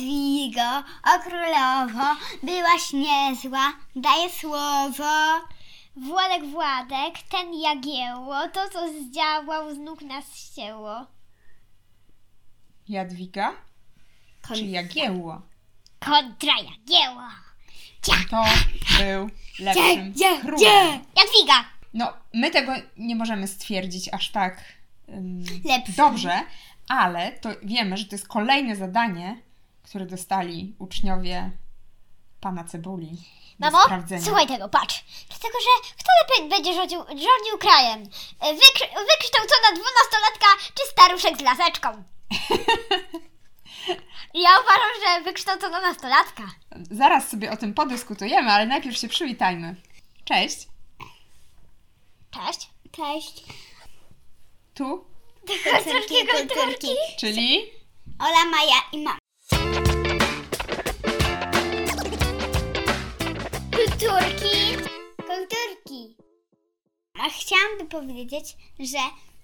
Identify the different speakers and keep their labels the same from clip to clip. Speaker 1: Jadwigo, o królowo, byłaś niezła, daję słowo.
Speaker 2: Władek Władek, ten Jagiełło, to co zdziałał, z nóg nas ścięło.
Speaker 3: Jadwiga czy Jagiełło?
Speaker 2: Kontra Jagiełło.
Speaker 3: To był lepszym królem.
Speaker 2: Jadwiga!
Speaker 3: No, my tego nie możemy stwierdzić aż tak ym,
Speaker 1: Lepszy.
Speaker 3: dobrze, ale to wiemy, że to jest kolejne zadanie, które dostali uczniowie pana Cebuli do
Speaker 2: Mamo,
Speaker 3: sprawdzenia.
Speaker 2: No słuchaj tego, patrz. Dlatego, że kto lepiej będzie rządził, rządził krajem? E, Wykr- wykształcona dwunastolatka czy staruszek z laseczką? ja uważam, że wykształcona nastolatka.
Speaker 3: Zaraz sobie o tym podyskutujemy, ale najpierw się przywitajmy. Cześć,
Speaker 2: Cześć.
Speaker 1: Cześć.
Speaker 3: tu,
Speaker 1: Kulturki, kulturki.
Speaker 3: czyli
Speaker 1: Ola, Maja i mama.
Speaker 2: Kulturki.
Speaker 1: Kulturki. A chciałam tu powiedzieć, że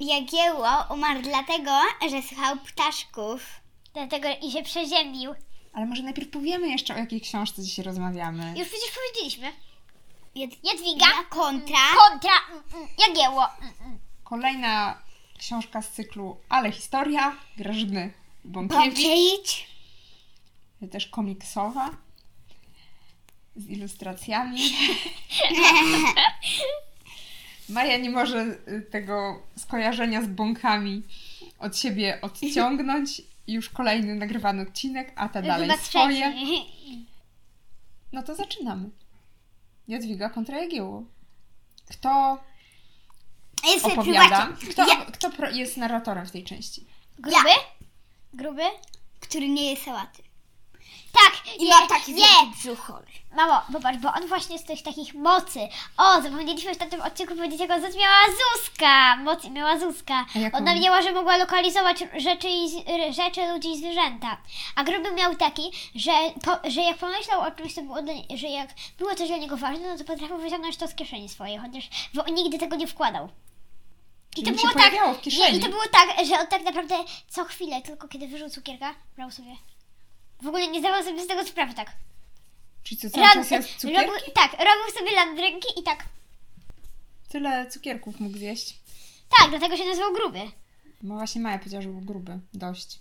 Speaker 1: Jagiełło umarł dlatego, że słuchał ptaszków.
Speaker 2: Dlatego i się przeziębił.
Speaker 3: Ale może najpierw powiemy jeszcze, o jakiej książce dzisiaj rozmawiamy.
Speaker 2: Już przecież powiedzieliśmy.
Speaker 1: Jad-
Speaker 2: Jadwiga.
Speaker 1: Na kontra.
Speaker 2: Kontra mm, mm, Jagiełło. Mm, mm.
Speaker 3: Kolejna książka z cyklu Ale historia Grażyny Bąkiewicz,
Speaker 1: Pokieć.
Speaker 3: też komiksowa, z ilustracjami. Maja nie może y, tego skojarzenia z bąkami od siebie odciągnąć. Już kolejny nagrywany odcinek, a ta dalej
Speaker 2: Chyba
Speaker 3: swoje.
Speaker 2: trzeci.
Speaker 3: No to zaczynamy. Jadwiga kontra Jagiełło. Kto
Speaker 1: Jest
Speaker 3: opowiada?
Speaker 1: prywatnie.
Speaker 3: Kto,
Speaker 1: Ja,
Speaker 3: kto pro- jest narratorem w tej części?
Speaker 2: Gruby? Gruby?
Speaker 1: który nie jest sałaty.
Speaker 2: Tak,
Speaker 1: I
Speaker 2: nie,
Speaker 1: ma taki
Speaker 2: nie.
Speaker 1: wielki brzuch chory.
Speaker 2: Mamo, popatrz, bo on właśnie z tych takich mocy. O, zapomnieliśmy w tamtym odcinku powiedzieć, jak on zaś miała Zuzka. Moc i miała Zuzka.
Speaker 3: A jaką?
Speaker 2: Ona miała, że mogła lokalizować rzeczy, i, z- rzeczy ludzi i zwierzęta. A Gruby miał taki, że, po, że jak pomyślał o czymś, co było dla, nie- że jak było coś dla niego ważne, no to potrafił wyciągnąć to z kieszeni swojej, chociaż bo on nigdy tego nie wkładał.
Speaker 3: Czyli mu się pojawiało w kieszeni.
Speaker 2: tak- Nie, I to było tak, że on tak naprawdę co chwilę, tylko kiedy wyrzucił cukierka, brał sobie. W ogóle nie zdawał sobie z tego sprawy tak.
Speaker 3: Czyli co, cały
Speaker 2: Rob-
Speaker 3: czas jest cukier?
Speaker 2: Robił, tak, robił sobie landrynki i tak.
Speaker 3: Tyle cukierków mógł zjeść.
Speaker 2: Tak, dlatego się nazywał gruby.
Speaker 3: Bo właśnie Maja powiedziała, że był gruby. Dość.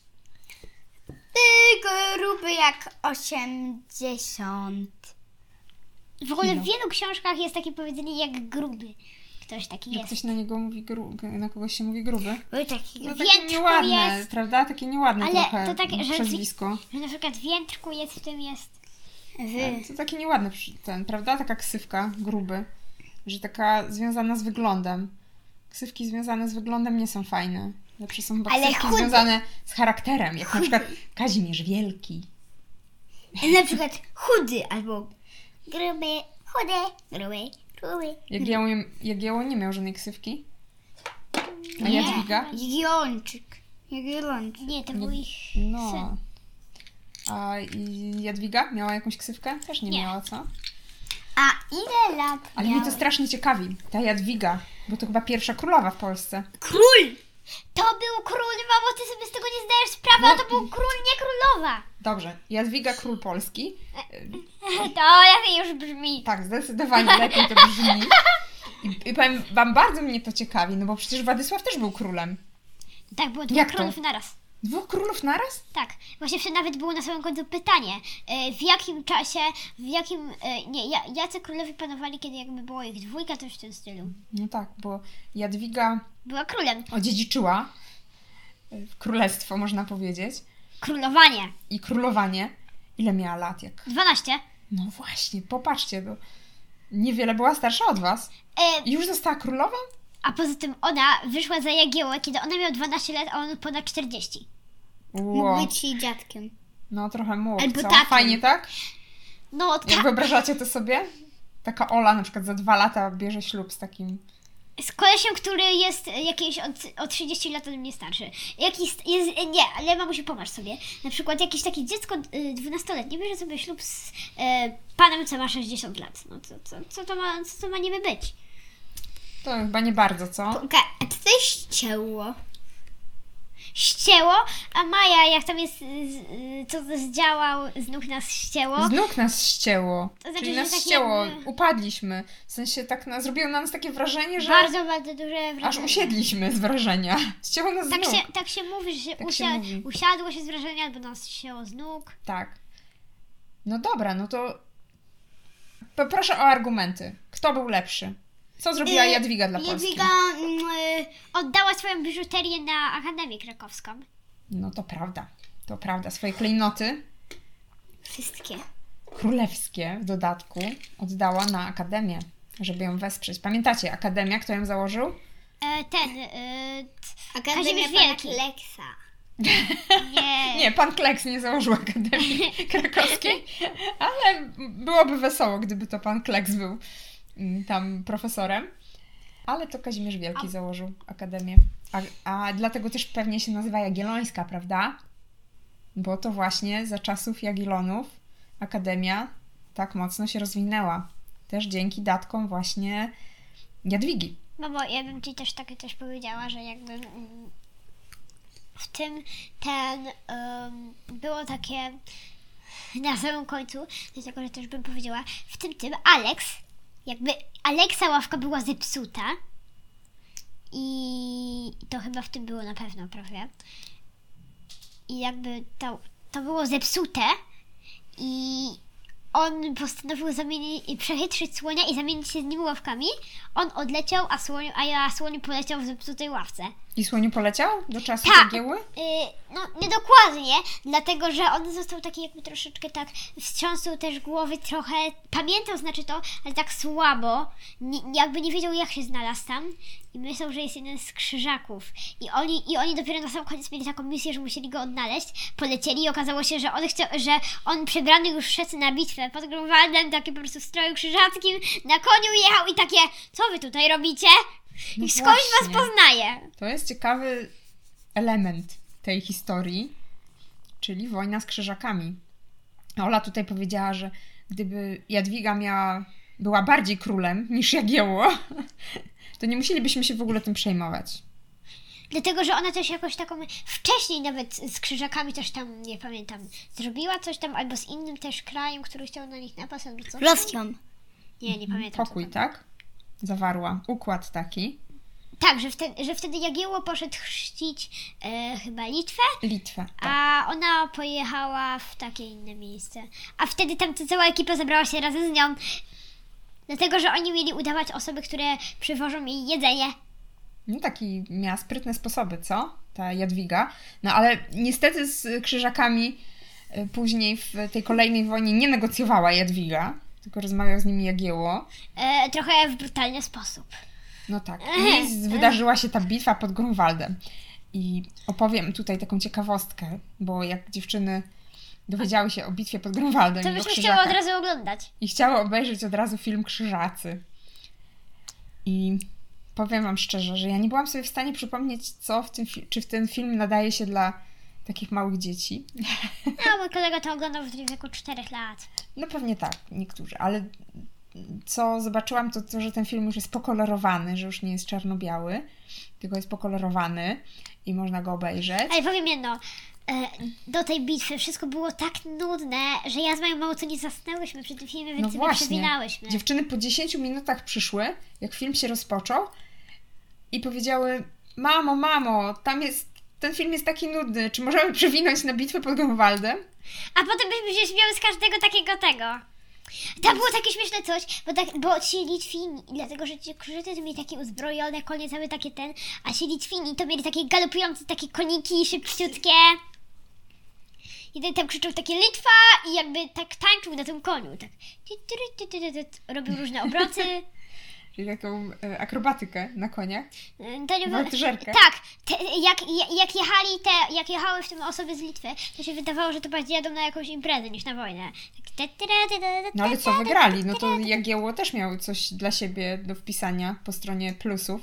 Speaker 1: Ty gruby jak 80.
Speaker 2: W ogóle
Speaker 3: Kilo.
Speaker 2: w wielu książkach jest takie powiedzenie jak gruby. Ktoś taki
Speaker 3: Jak
Speaker 2: jest.
Speaker 3: ktoś na niego mówi gru... na kogoś się mówi gruby.
Speaker 1: Był taki.
Speaker 3: No takie
Speaker 2: Więdku
Speaker 3: nieładne,
Speaker 2: jest.
Speaker 3: prawda? Takie nieładne
Speaker 2: Ale
Speaker 3: trochę
Speaker 2: to tak, że-
Speaker 3: przezwisko.
Speaker 2: Że na przykład w jętrku jest, w tym jest. y.
Speaker 1: Wy.
Speaker 3: To takie nieładne przy- ten, prawda? Taka ksywka, gruby. Że taka związana z wyglądem. Ksywki związane z wyglądem nie są fajne. Lepsze są chyba
Speaker 1: Ale
Speaker 3: ksywki
Speaker 1: chudy.
Speaker 3: związane z charakterem. Jak na przykład Kazimierz Wielki.
Speaker 1: Na przykład chudy albo gruby, chudy, gruby, gruby.
Speaker 3: Jagiełło, Jagiełło nie miał żadnej ksywki. A
Speaker 2: Nie.
Speaker 3: Jadwiga?
Speaker 1: Jagiellończyk. Jagiellończyk.
Speaker 2: Nie, to był ich
Speaker 3: No.
Speaker 2: syn.
Speaker 3: A i Jadwiga miała jakąś ksywkę? Też nie,
Speaker 2: Nie.
Speaker 3: miała, co?
Speaker 1: A ile lat
Speaker 3: Ale
Speaker 1: miał?
Speaker 3: mnie to strasznie ciekawi, ta Jadwiga, bo to chyba pierwsza królowa w Polsce.
Speaker 1: Król!
Speaker 2: To był król, mamo, ty sobie z tego nie zdajesz sprawy, a to
Speaker 3: No.
Speaker 2: był król, nie królowa.
Speaker 3: Dobrze, Jadwiga król Polski.
Speaker 2: To lepiej już brzmi.
Speaker 3: Tak, zdecydowanie lepiej to brzmi. I, I powiem wam, bardzo mnie to ciekawi, no bo przecież Władysław też był królem.
Speaker 2: Tak, było dwóch
Speaker 3: Jak to?
Speaker 2: królów naraz.
Speaker 3: Dwóch królów naraz?
Speaker 2: Tak, właśnie wtedy nawet było na samym końcu pytanie, e, w jakim czasie, w jakim, e, nie, ja- jacy królowie panowali, kiedy jakby było ich dwójka, coś w tym stylu.
Speaker 3: No tak, bo Jadwiga
Speaker 2: Była królem.
Speaker 3: odziedziczyła y, królestwo, można powiedzieć,
Speaker 2: Królowanie.
Speaker 3: i królowanie. Ile miała lat, jak
Speaker 2: 12.
Speaker 3: No właśnie, popatrzcie, bo niewiele była starsza od was.
Speaker 2: E,
Speaker 3: I już została królową?
Speaker 2: a poza tym ona wyszła za Jagiełę, kiedy ona miała 12 lat, a on ponad 40.
Speaker 3: Ło,
Speaker 1: Mógł być jej dziadkiem.
Speaker 3: no trochę młody,
Speaker 1: Albo
Speaker 3: co?
Speaker 1: takim.
Speaker 3: Fajnie, tak?
Speaker 2: No
Speaker 3: Jak
Speaker 2: tak,
Speaker 3: wyobrażacie to sobie? Taka Ola na przykład za dwa lata bierze ślub z takim...
Speaker 2: z kolesiem, który jest e, jakieś od, od 30 lat ode mnie starszy. Jakiś jest, e, nie, ale mamusiu, pomarz sobie. Na przykład jakieś takie dziecko e, 12-letnie bierze sobie ślub z e, panem, co ma 60 lat. No co, co, co, to, ma, co to ma niby być?
Speaker 3: To chyba nie bardzo, co?
Speaker 1: Poka- a co to jest ciało?
Speaker 2: ścięło, a Maja, jak tam jest, y, z- y, co zdziałał, z nóg nas ścięło.
Speaker 3: Z nóg nas ścięło.
Speaker 2: To znaczy,
Speaker 3: Czyli
Speaker 2: że
Speaker 3: nas
Speaker 2: tak
Speaker 3: ścięło,
Speaker 2: jakby-
Speaker 3: upadliśmy. W sensie tak na, zrobiło nam takie wrażenie, że
Speaker 2: Bardzo, bardzo duże wrażenie.
Speaker 3: aż usiedliśmy z wrażenia. Ścięło nas
Speaker 2: Tak
Speaker 3: z nóg.
Speaker 2: się, tak się mówi, że się
Speaker 3: Tak się
Speaker 2: usia-
Speaker 3: mówi.
Speaker 2: usiadło się z wrażenia, albo nas ścięło z nóg.
Speaker 3: Tak. No dobra, no to poproszę o argumenty. Kto był lepszy? Co zrobiła
Speaker 2: Yy,
Speaker 3: Jadwiga dla Polski?
Speaker 2: Jadwiga mm, y, oddała swoją biżuterię na Akademię Krakowską.
Speaker 3: No to prawda. To prawda. Swoje klejnoty
Speaker 2: Wszystkie.
Speaker 3: królewskie w dodatku oddała na akademię, żeby ją wesprzeć. Pamiętacie, akademia, kto ją założył?
Speaker 2: E, ten, y, t-
Speaker 1: Akademia
Speaker 2: Kazimierz
Speaker 1: Pana
Speaker 2: Wielki.
Speaker 1: Kleksa.
Speaker 2: nie.
Speaker 3: Nie, pan Kleks nie założył Akademii Krakowskiej, ale byłoby wesoło, gdyby to pan Kleks był mm, tam profesorem. Ale to Kazimierz Wielki założył Akademię. A, a dlatego też pewnie się nazywa Jagiellońska, prawda? Bo to właśnie za czasów Jagiellonów Akademia tak mocno się rozwinęła. Też dzięki datkom właśnie Jadwigi.
Speaker 2: Mamo, No ja bym ci też takie coś powiedziała, że jakby mm, w tym ten em, było takie na samym końcu, dlatego że też bym powiedziała, w tym tym Alex, jakby Aleksa ławka była zepsuta i to chyba w tym było na pewno, prawda? I jakby to, to było zepsute i on postanowił zamieni- przechytrzyć słonia i zamienić się z nim ławkami. On odleciał, a słoń, a ja słoń poleciał w zepsutej ławce.
Speaker 3: I słoniu poleciał do czasu
Speaker 2: Tak.
Speaker 3: Jagieły?
Speaker 2: Yy, no, niedokładnie, dlatego że on został taki jakby troszeczkę tak wstrząsnął też głowy trochę, pamiętał znaczy to, ale tak słabo, nie, jakby nie wiedział jak się znalazł tam i myślał, że jest jeden z krzyżaków. I oni, I oni dopiero na sam koniec mieli taką misję, że musieli go odnaleźć, polecieli i okazało się, że on chciał, że on przebrany już szedł na bitwę pod Grunwaldem, taki po prostu w stroju krzyżackim, na koniu jechał i takie, co wy tutaj robicie?
Speaker 3: No
Speaker 2: I skądś was
Speaker 3: właśnie.
Speaker 2: poznaje?
Speaker 3: To jest ciekawy element tej historii, czyli wojna z krzyżakami. Ola tutaj powiedziała, że gdyby Jadwiga miała, była bardziej królem niż Jagiełło, to nie musielibyśmy się w ogóle tym przejmować.
Speaker 2: Dlatego, że ona też jakoś taką wcześniej nawet z krzyżakami też tam, nie pamiętam, zrobiła coś tam, albo z innym też krajem, który chciał na nich napaść albo coś.
Speaker 1: Rosją.
Speaker 2: Nie, nie pamiętam. co
Speaker 3: Pokój,
Speaker 2: tam.
Speaker 3: tak? Zawarła układ taki.
Speaker 2: Tak, że wtedy, że wtedy Jagiełło poszedł chrzcić e, chyba Litwę,
Speaker 3: Litwę. Tak.
Speaker 2: a ona pojechała w takie inne miejsce. A wtedy tam ta cała ekipa zabrała się razem z nią, dlatego, że oni mieli udawać osoby, które przywożą jej jedzenie.
Speaker 3: No taki miała sprytne sposoby, co? Ta Jadwiga. No ale niestety z krzyżakami y, później w tej kolejnej wojnie nie negocjowała Jadwiga, tylko rozmawiał z nimi Jagiełło.
Speaker 2: E, trochę w brutalny sposób.
Speaker 3: No tak. I z- wydarzyła się ta bitwa pod Grunwaldem. I opowiem tutaj taką ciekawostkę, bo jak dziewczyny dowiedziały się o bitwie pod Grunwaldem
Speaker 2: To
Speaker 3: i o
Speaker 2: byśmy chciały
Speaker 3: krzyżakach,
Speaker 2: od razu oglądać.
Speaker 3: i chciały obejrzeć od razu film Krzyżacy. I powiem Wam szczerze, że ja nie byłam sobie w stanie przypomnieć, co w tym fi- czy w ten film nadaje się dla takich małych dzieci.
Speaker 2: No, mój kolega to oglądał w wieku 4 lat.
Speaker 3: No pewnie tak, niektórzy, ale co zobaczyłam, to to, że ten film już jest pokolorowany, że już nie jest czarno-biały, tylko jest pokolorowany i można go obejrzeć.
Speaker 2: Ale powiem jedno, e, do tej bitwy wszystko było tak nudne, że ja z moją małą to nie zasnęłyśmy przy tym filmie, więc
Speaker 3: No
Speaker 2: sobie
Speaker 3: właśnie.
Speaker 2: przewinałyśmy.
Speaker 3: Dziewczyny po 10 minutach przyszły, jak film się rozpoczął i powiedziały: Mamo, mamo, tam jest. Ten film jest taki nudny. Czy możemy przewinąć na bitwę pod Grunwaldem?
Speaker 2: A potem byśmy się śmiały z każdego takiego tego. Tam było takie śmieszne coś, bo, tak, bo ci Litwini, dlatego że ci krzyżycy to mieli takie uzbrojone konie, całe takie ten, a ci Litwini to mieli takie galopujące takie koniki szybciutkie. Jeden tam krzyczał takie Litwa i jakby tak tańczył na tym koniu, tak ty, ty, ty, ty, ty, ty, ty, robił różne obroty.
Speaker 3: Czyli taką e, akrobatykę na koniach.
Speaker 2: Mm, To nie było-
Speaker 3: Wałtyżerkę.
Speaker 2: Tak, te, jak, jak jechali te, jak jechały w tym osoby z Litwy, to się wydawało, że to bardziej jadą na jakąś imprezę niż na wojnę. Tak, te- te- te- te- te-
Speaker 3: No ale
Speaker 2: te-
Speaker 3: co
Speaker 2: te-
Speaker 3: wygrali? No to Jagiełło też miał coś dla siebie do wpisania po stronie plusów.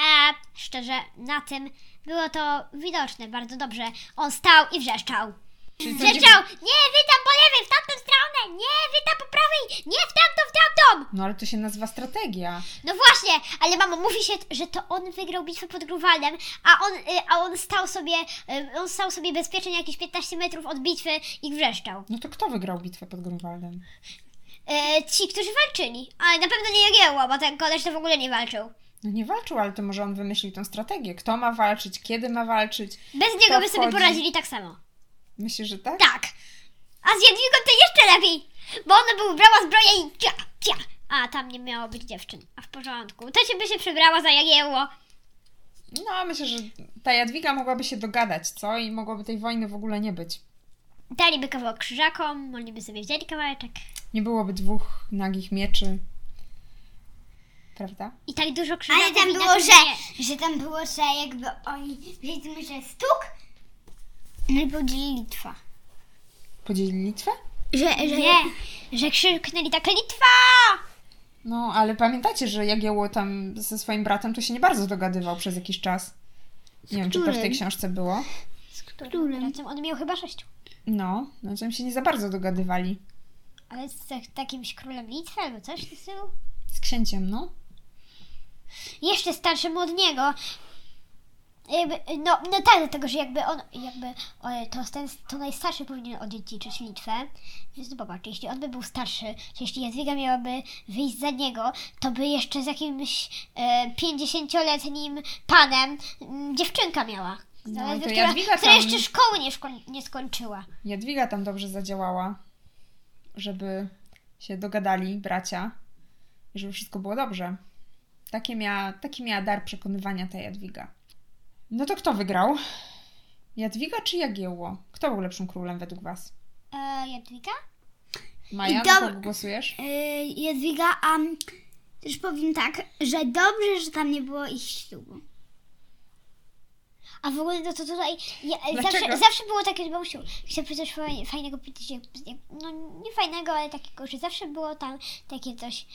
Speaker 2: A szczerze, na tym było to widoczne bardzo dobrze. On stał i wrzeszczał.
Speaker 3: Czyli co
Speaker 2: Wrzeszczał! Nie, wy tam po lewej, w tamtą stronę! Nie, wy tam po prawej! Nie, w tamtą, w tamtą! on!
Speaker 3: No ale to się nazywa strategia.
Speaker 2: No właśnie, ale mamo, mówi się, że to on wygrał bitwę pod Gruwalem, a on, y, a on stał sobie, y, on stał sobie bezpiecznie jakieś 15 metrów od bitwy i wrzeszczał.
Speaker 3: No to kto wygrał bitwę pod Grunwaldem?
Speaker 2: E, ci, którzy walczyli. Ale na pewno nie Jagiełło, bo ten koleś to w ogóle nie walczył.
Speaker 3: No nie walczył, ale to może on wymyślił tą strategię. Kto ma walczyć, kiedy ma walczyć.
Speaker 2: Bez niego by sobie
Speaker 3: wchodzi?
Speaker 2: poradzili tak samo.
Speaker 3: Myślisz, że tak?
Speaker 2: Tak. A z Jadwigą to jeszcze lepiej, bo ona by ubrała zbroję i cia, cia. A, tam nie miało być dziewczyn. A w porządku. To się by się przebrała za Jagiełło.
Speaker 3: No myślę, że ta Jadwiga mogłaby się dogadać, co? I mogłoby tej wojny w ogóle nie być.
Speaker 2: Daliby kawałek krzyżakom, oni by sobie wzięli kawałeczek.
Speaker 3: Nie byłoby dwóch nagich mieczy. Prawda?
Speaker 2: I tak dużo krzyżaków.
Speaker 1: Ale tam
Speaker 2: i na
Speaker 1: było,
Speaker 2: tym nie-
Speaker 1: że, że tam było, że jakby oni powiedzmy, że stuk no i podzieli Litwa.
Speaker 3: Podzielili Litwę?
Speaker 1: Że,
Speaker 2: Nie, że krzyknęli tak Litwa!
Speaker 3: No, ale pamiętacie, że Jagiełło tam ze swoim bratem to się nie bardzo dogadywał przez jakiś czas. Nie wiem, czy to w tej
Speaker 1: którym?
Speaker 3: książce było.
Speaker 2: Z którym?
Speaker 1: którym?
Speaker 2: Razem on miał chyba sześciu.
Speaker 3: No, no to im się nie za bardzo dogadywali.
Speaker 2: Ale z tak- takimś królem Litwy albo coś w tym stylu?
Speaker 3: Z księciem, no.
Speaker 2: Jeszcze starszym od niego. Jakby, no, no tak, dlatego, że jakby on, jakby e, to, ten, to najstarszy powinien odziedziczyć Litwę. Więc no popatrz, jeśli on by był starszy, czy jeśli Jadwiga miałaby wyjść za niego, to by jeszcze z jakimś e, 50-letnim panem m, dziewczynka miała.
Speaker 3: No,
Speaker 2: Zaledwie,
Speaker 3: to Jadwiga
Speaker 2: która, która
Speaker 3: tam-
Speaker 2: jeszcze szkoły nie, szko- nie skończyła.
Speaker 3: Jadwiga tam dobrze zadziałała, żeby się dogadali bracia i żeby wszystko było dobrze. Takie miała, taki miała dar przekonywania ta Jadwiga. No to kto wygrał? Jadwiga czy Jagiełło? Kto był lepszym królem według Was?
Speaker 2: E, Jadwiga?
Speaker 3: Maja,
Speaker 1: I
Speaker 3: na
Speaker 1: dom-
Speaker 3: kogo głosujesz?
Speaker 1: Yy, Jadwiga, a też powiem tak, że dobrze, że tam nie było ich ślubu.
Speaker 2: A w ogóle no to tutaj ja,
Speaker 3: Dlaczego?
Speaker 2: zawsze, zawsze było takie, że mamusiu, chcę coś faj- fajnego powiedzieć, jak- jak- no nie fajnego, ale takiego, że zawsze było tam takie coś,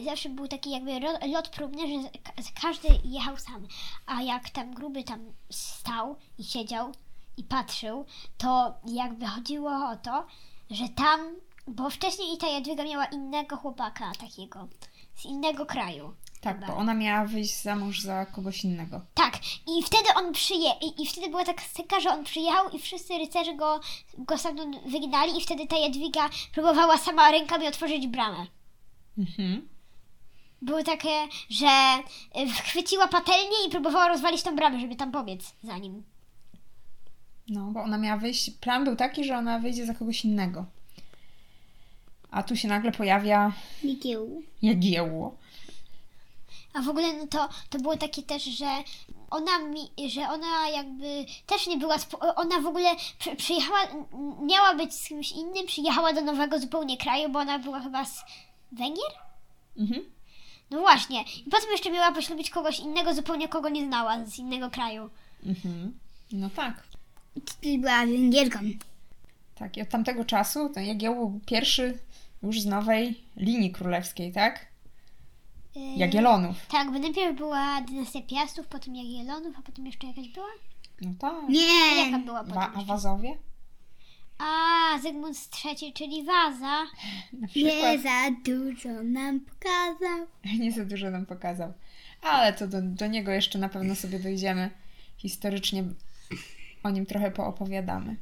Speaker 2: y, zawsze był taki jakby ro, lot próbny, że ka- każdy jechał sam, a jak tam gruby tam stał i siedział i patrzył, to jakby chodziło o to, że tam, bo wcześniej i ta Jadwiga miała innego chłopaka takiego, z innego kraju.
Speaker 3: Tak,
Speaker 2: chyba.
Speaker 3: bo ona miała wyjść za mąż za kogoś innego.
Speaker 2: Tak, i wtedy on przyje... I, i wtedy była taka scena, że on przyjechał i wszyscy rycerze go, go stamtąd wygnali i wtedy ta Jadwiga próbowała sama rękami otworzyć bramę.
Speaker 3: Mhm.
Speaker 2: Było takie, że y, chwyciła patelnię i próbowała rozwalić tą bramę, żeby tam pobiec za nim.
Speaker 3: No, bo ona miała wyjść. Plan był taki, że ona wyjdzie za kogoś innego. A tu się nagle pojawia
Speaker 1: Nikieł.
Speaker 3: Jagiełło.
Speaker 2: A w ogóle no to, to było takie też, że ona mi, że ona jakby też nie była, spo- ona w ogóle przy, przyjechała, m- miała być z kimś innym, przyjechała do nowego zupełnie kraju, bo ona była chyba z Węgier?
Speaker 3: Mhm.
Speaker 2: No właśnie. I potem jeszcze miała poślubić kogoś innego, zupełnie kogo nie znała, z innego kraju.
Speaker 3: Mhm. No tak.
Speaker 1: Czyli była Węgierką.
Speaker 3: Tak, i od tamtego czasu ten Jagiełło był pierwszy już z nowej linii królewskiej, tak?
Speaker 2: Yy,
Speaker 3: Jagielonów.
Speaker 2: Tak, bo najpierw była dynastia Piastów, potem Jagiellonów, a potem jeszcze jakaś była?
Speaker 3: No tak.
Speaker 2: A
Speaker 1: Nie.
Speaker 2: jaka była
Speaker 3: Wa-
Speaker 2: potem
Speaker 3: a
Speaker 2: jeszcze?
Speaker 3: Wazowie?
Speaker 2: A, Zygmunt III, czyli Waza.
Speaker 3: Na
Speaker 1: Nie
Speaker 3: przykład.
Speaker 1: za dużo nam pokazał.
Speaker 3: Nie za dużo nam pokazał. Ale to do, do niego jeszcze na pewno sobie dojdziemy. Historycznie o nim trochę poopowiadamy.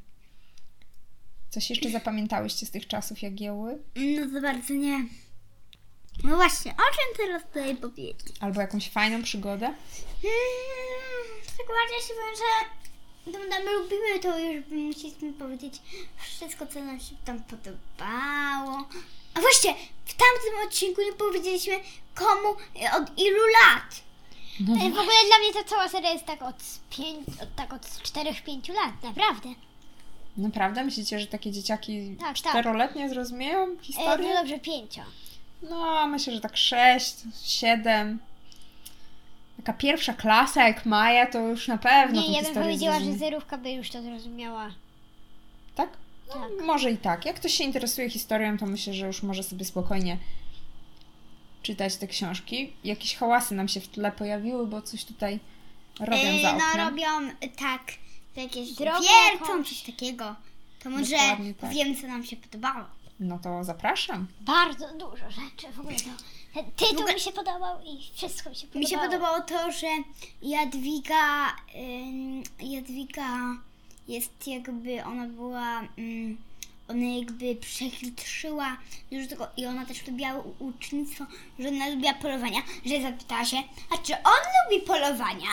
Speaker 3: Coś jeszcze zapamiętałyście z tych czasów Jagiełły?
Speaker 1: No za bardzo nie. No właśnie, o czym teraz tutaj powiedzieć?
Speaker 3: Albo jakąś fajną przygodę?
Speaker 1: Hmm, tak bardziej się wiem, że tam, tam lubimy, to już musieliśmy powiedzieć wszystko, co nam się tam podobało. A właśnie, w tamtym odcinku nie powiedzieliśmy komu e, od ilu lat.
Speaker 3: No,
Speaker 2: Yy, W ogóle dla mnie ta cała seria jest tak od, pięć, od, tak od 4-5 lat, naprawdę.
Speaker 3: naprawdę? Myślicie, że takie dzieciaki
Speaker 2: Tak, tak.
Speaker 3: czteroletnie zrozumieją
Speaker 2: Yy,
Speaker 3: historię?
Speaker 2: No dobrze, 5.
Speaker 3: No, myślę, że tak 6, 7. Taka pierwsza klasa jak Maja, Tak, no to już na pewno. tą
Speaker 2: Nie, ja bym
Speaker 3: historię
Speaker 2: powiedziała, że
Speaker 3: zrozumie.
Speaker 2: zerówka by już to zrozumiała.
Speaker 3: Tak? No, Może i tak. Jak ktoś się interesuje historią, to myślę, że już może sobie spokojnie czytać te książki. Jakieś hałasy nam się w tle pojawiły, bo coś tutaj robią
Speaker 1: Yy,
Speaker 3: za oknem.
Speaker 1: no robią y, tak, jakieś
Speaker 2: Drogą
Speaker 1: wiertą,
Speaker 2: jakąś.
Speaker 1: coś takiego. To może
Speaker 3: Dokładnie tak.
Speaker 1: wiem, co nam się podobało.
Speaker 3: No to zapraszam.
Speaker 2: Bardzo dużo rzeczy w ogóle. To, ten tytuł
Speaker 1: W ogóle-
Speaker 2: mi się podobał i wszystko mi się podobało.
Speaker 1: Mi się podobało to, że Jadwiga, ym, Jadwiga jest jakby, ona była, ym, ona jakby przechytrzyła dużo tego i ona też lubiła u- ucznictwo, że ona lubiła polowania, że zapytała się, a czy on lubi polowania?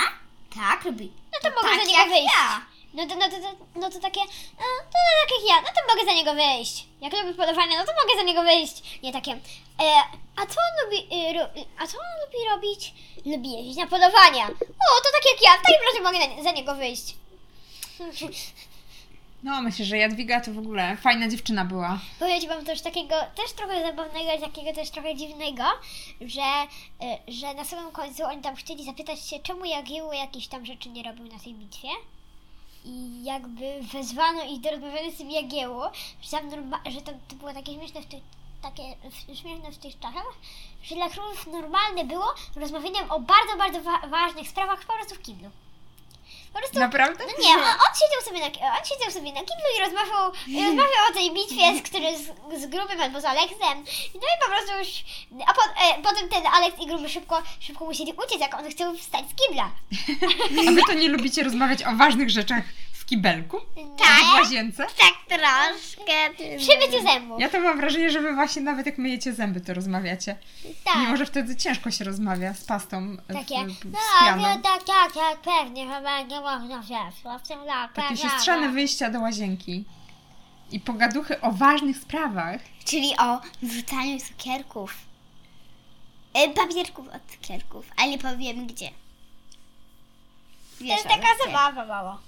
Speaker 1: Tak, lubi.
Speaker 2: No to mogę
Speaker 1: tak
Speaker 2: za niego
Speaker 1: jak
Speaker 2: wyjść.
Speaker 1: ja.
Speaker 2: No to, no, to, to, no to takie, no, to tak jak ja, no to mogę za niego wyjść. Jak lubię polowanie, no to mogę za niego wyjść. Nie takie, e, a co on lubi, e, ro, a co on lubi robić? Lubi jeździć na polowania. O, to tak jak ja, w takim razie mogę za, za niego wyjść.
Speaker 3: No, myślę, że Jadwiga to w ogóle fajna dziewczyna była.
Speaker 2: Powiem Wam coś takiego też trochę zabawnego i takiego też trochę dziwnego, że, e, że na samym końcu oni tam chcieli zapytać się, czemu Jagiełło jakieś tam rzeczy nie robił na tej bitwie. I jakby wezwano ich do rozmawiania z tym Jagiełło, że tam, norma- że tam to było takie śmieszne w tych, takie w- śmieszne w tych czasach, że dla królów normalne było rozmawianiem o bardzo, bardzo wa- ważnych sprawach po prostu w kiblu. Po prostu
Speaker 3: Naprawdę?
Speaker 2: no nie, on, on, siedział sobie na, on siedział sobie na kiblu i rozmawiał, i rozmawiał o tej bitwie, z, który z, z grubym albo z Aleksem. No i po prostu już. A po, e, potem ten Aleks i gruby szybko, szybko musieli uciec, jak on chciał wstać z kibla.
Speaker 3: A wy to nie lubicie rozmawiać o ważnych rzeczach w kibelku? W
Speaker 2: Tak.
Speaker 3: łazience?
Speaker 1: Tak troszkę.
Speaker 2: Przy myciu zębów.
Speaker 3: Ja to mam wrażenie, że wy właśnie nawet jak myjecie zęby, to rozmawiacie. Mimo,
Speaker 2: Tak.
Speaker 3: że wtedy ciężko się rozmawia z pastą e,
Speaker 2: Takie.
Speaker 3: w, w,
Speaker 2: No,
Speaker 3: z pianą.
Speaker 2: no tak, tak, tak, pewnie, chyba nie można wziąć. tak,
Speaker 3: Takie
Speaker 2: no.
Speaker 3: siostrzane wyjścia do łazienki. I pogaduchy o ważnych sprawach.
Speaker 1: Czyli o wrzucaniu cukierków. E, papierków od cukierków, ale nie powiem gdzie.
Speaker 2: To jest taka zabawa mała.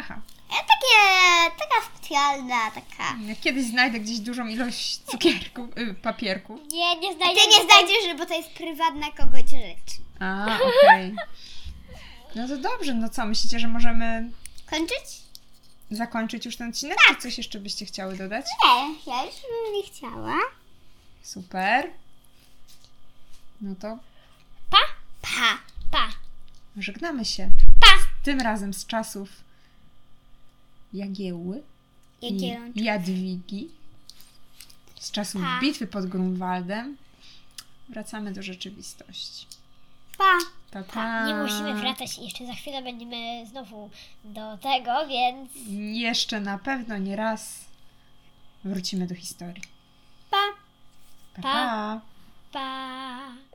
Speaker 3: Aha.
Speaker 1: E, takie, taka specjalna, taka.
Speaker 3: Ja Kiedyś znajdę gdzieś dużą ilość cukierków, y, papierków.
Speaker 2: Nie, nie
Speaker 1: Ty
Speaker 2: znajdziesz.
Speaker 1: nie znajdziesz, bo to jest prywatna kogoś rzecz.
Speaker 3: A, okej. No to dobrze, no co, myślicie, że możemy
Speaker 1: Kończyć?
Speaker 3: zakończyć już ten odcinek? Czy coś jeszcze byście chciały dodać?
Speaker 1: Nie, ja już bym nie chciała.
Speaker 3: Super. No to
Speaker 2: Pa,
Speaker 1: Pa!
Speaker 2: pa.
Speaker 3: żegnamy się. Z tym razem z czasów Jagiełły i
Speaker 1: Jakie on
Speaker 3: Jadwigi. Z czasów
Speaker 1: Pa.
Speaker 3: bitwy pod Grunwaldem. Wracamy do rzeczywistości.
Speaker 1: Pa!
Speaker 3: Pa, pa.
Speaker 2: Nie musimy wracać i jeszcze za chwilę będziemy znowu do tego, więc
Speaker 3: Jeszcze na pewno nie raz wrócimy do historii.
Speaker 1: Pa!
Speaker 3: Pa,
Speaker 2: Pa.
Speaker 3: pa.
Speaker 2: pa.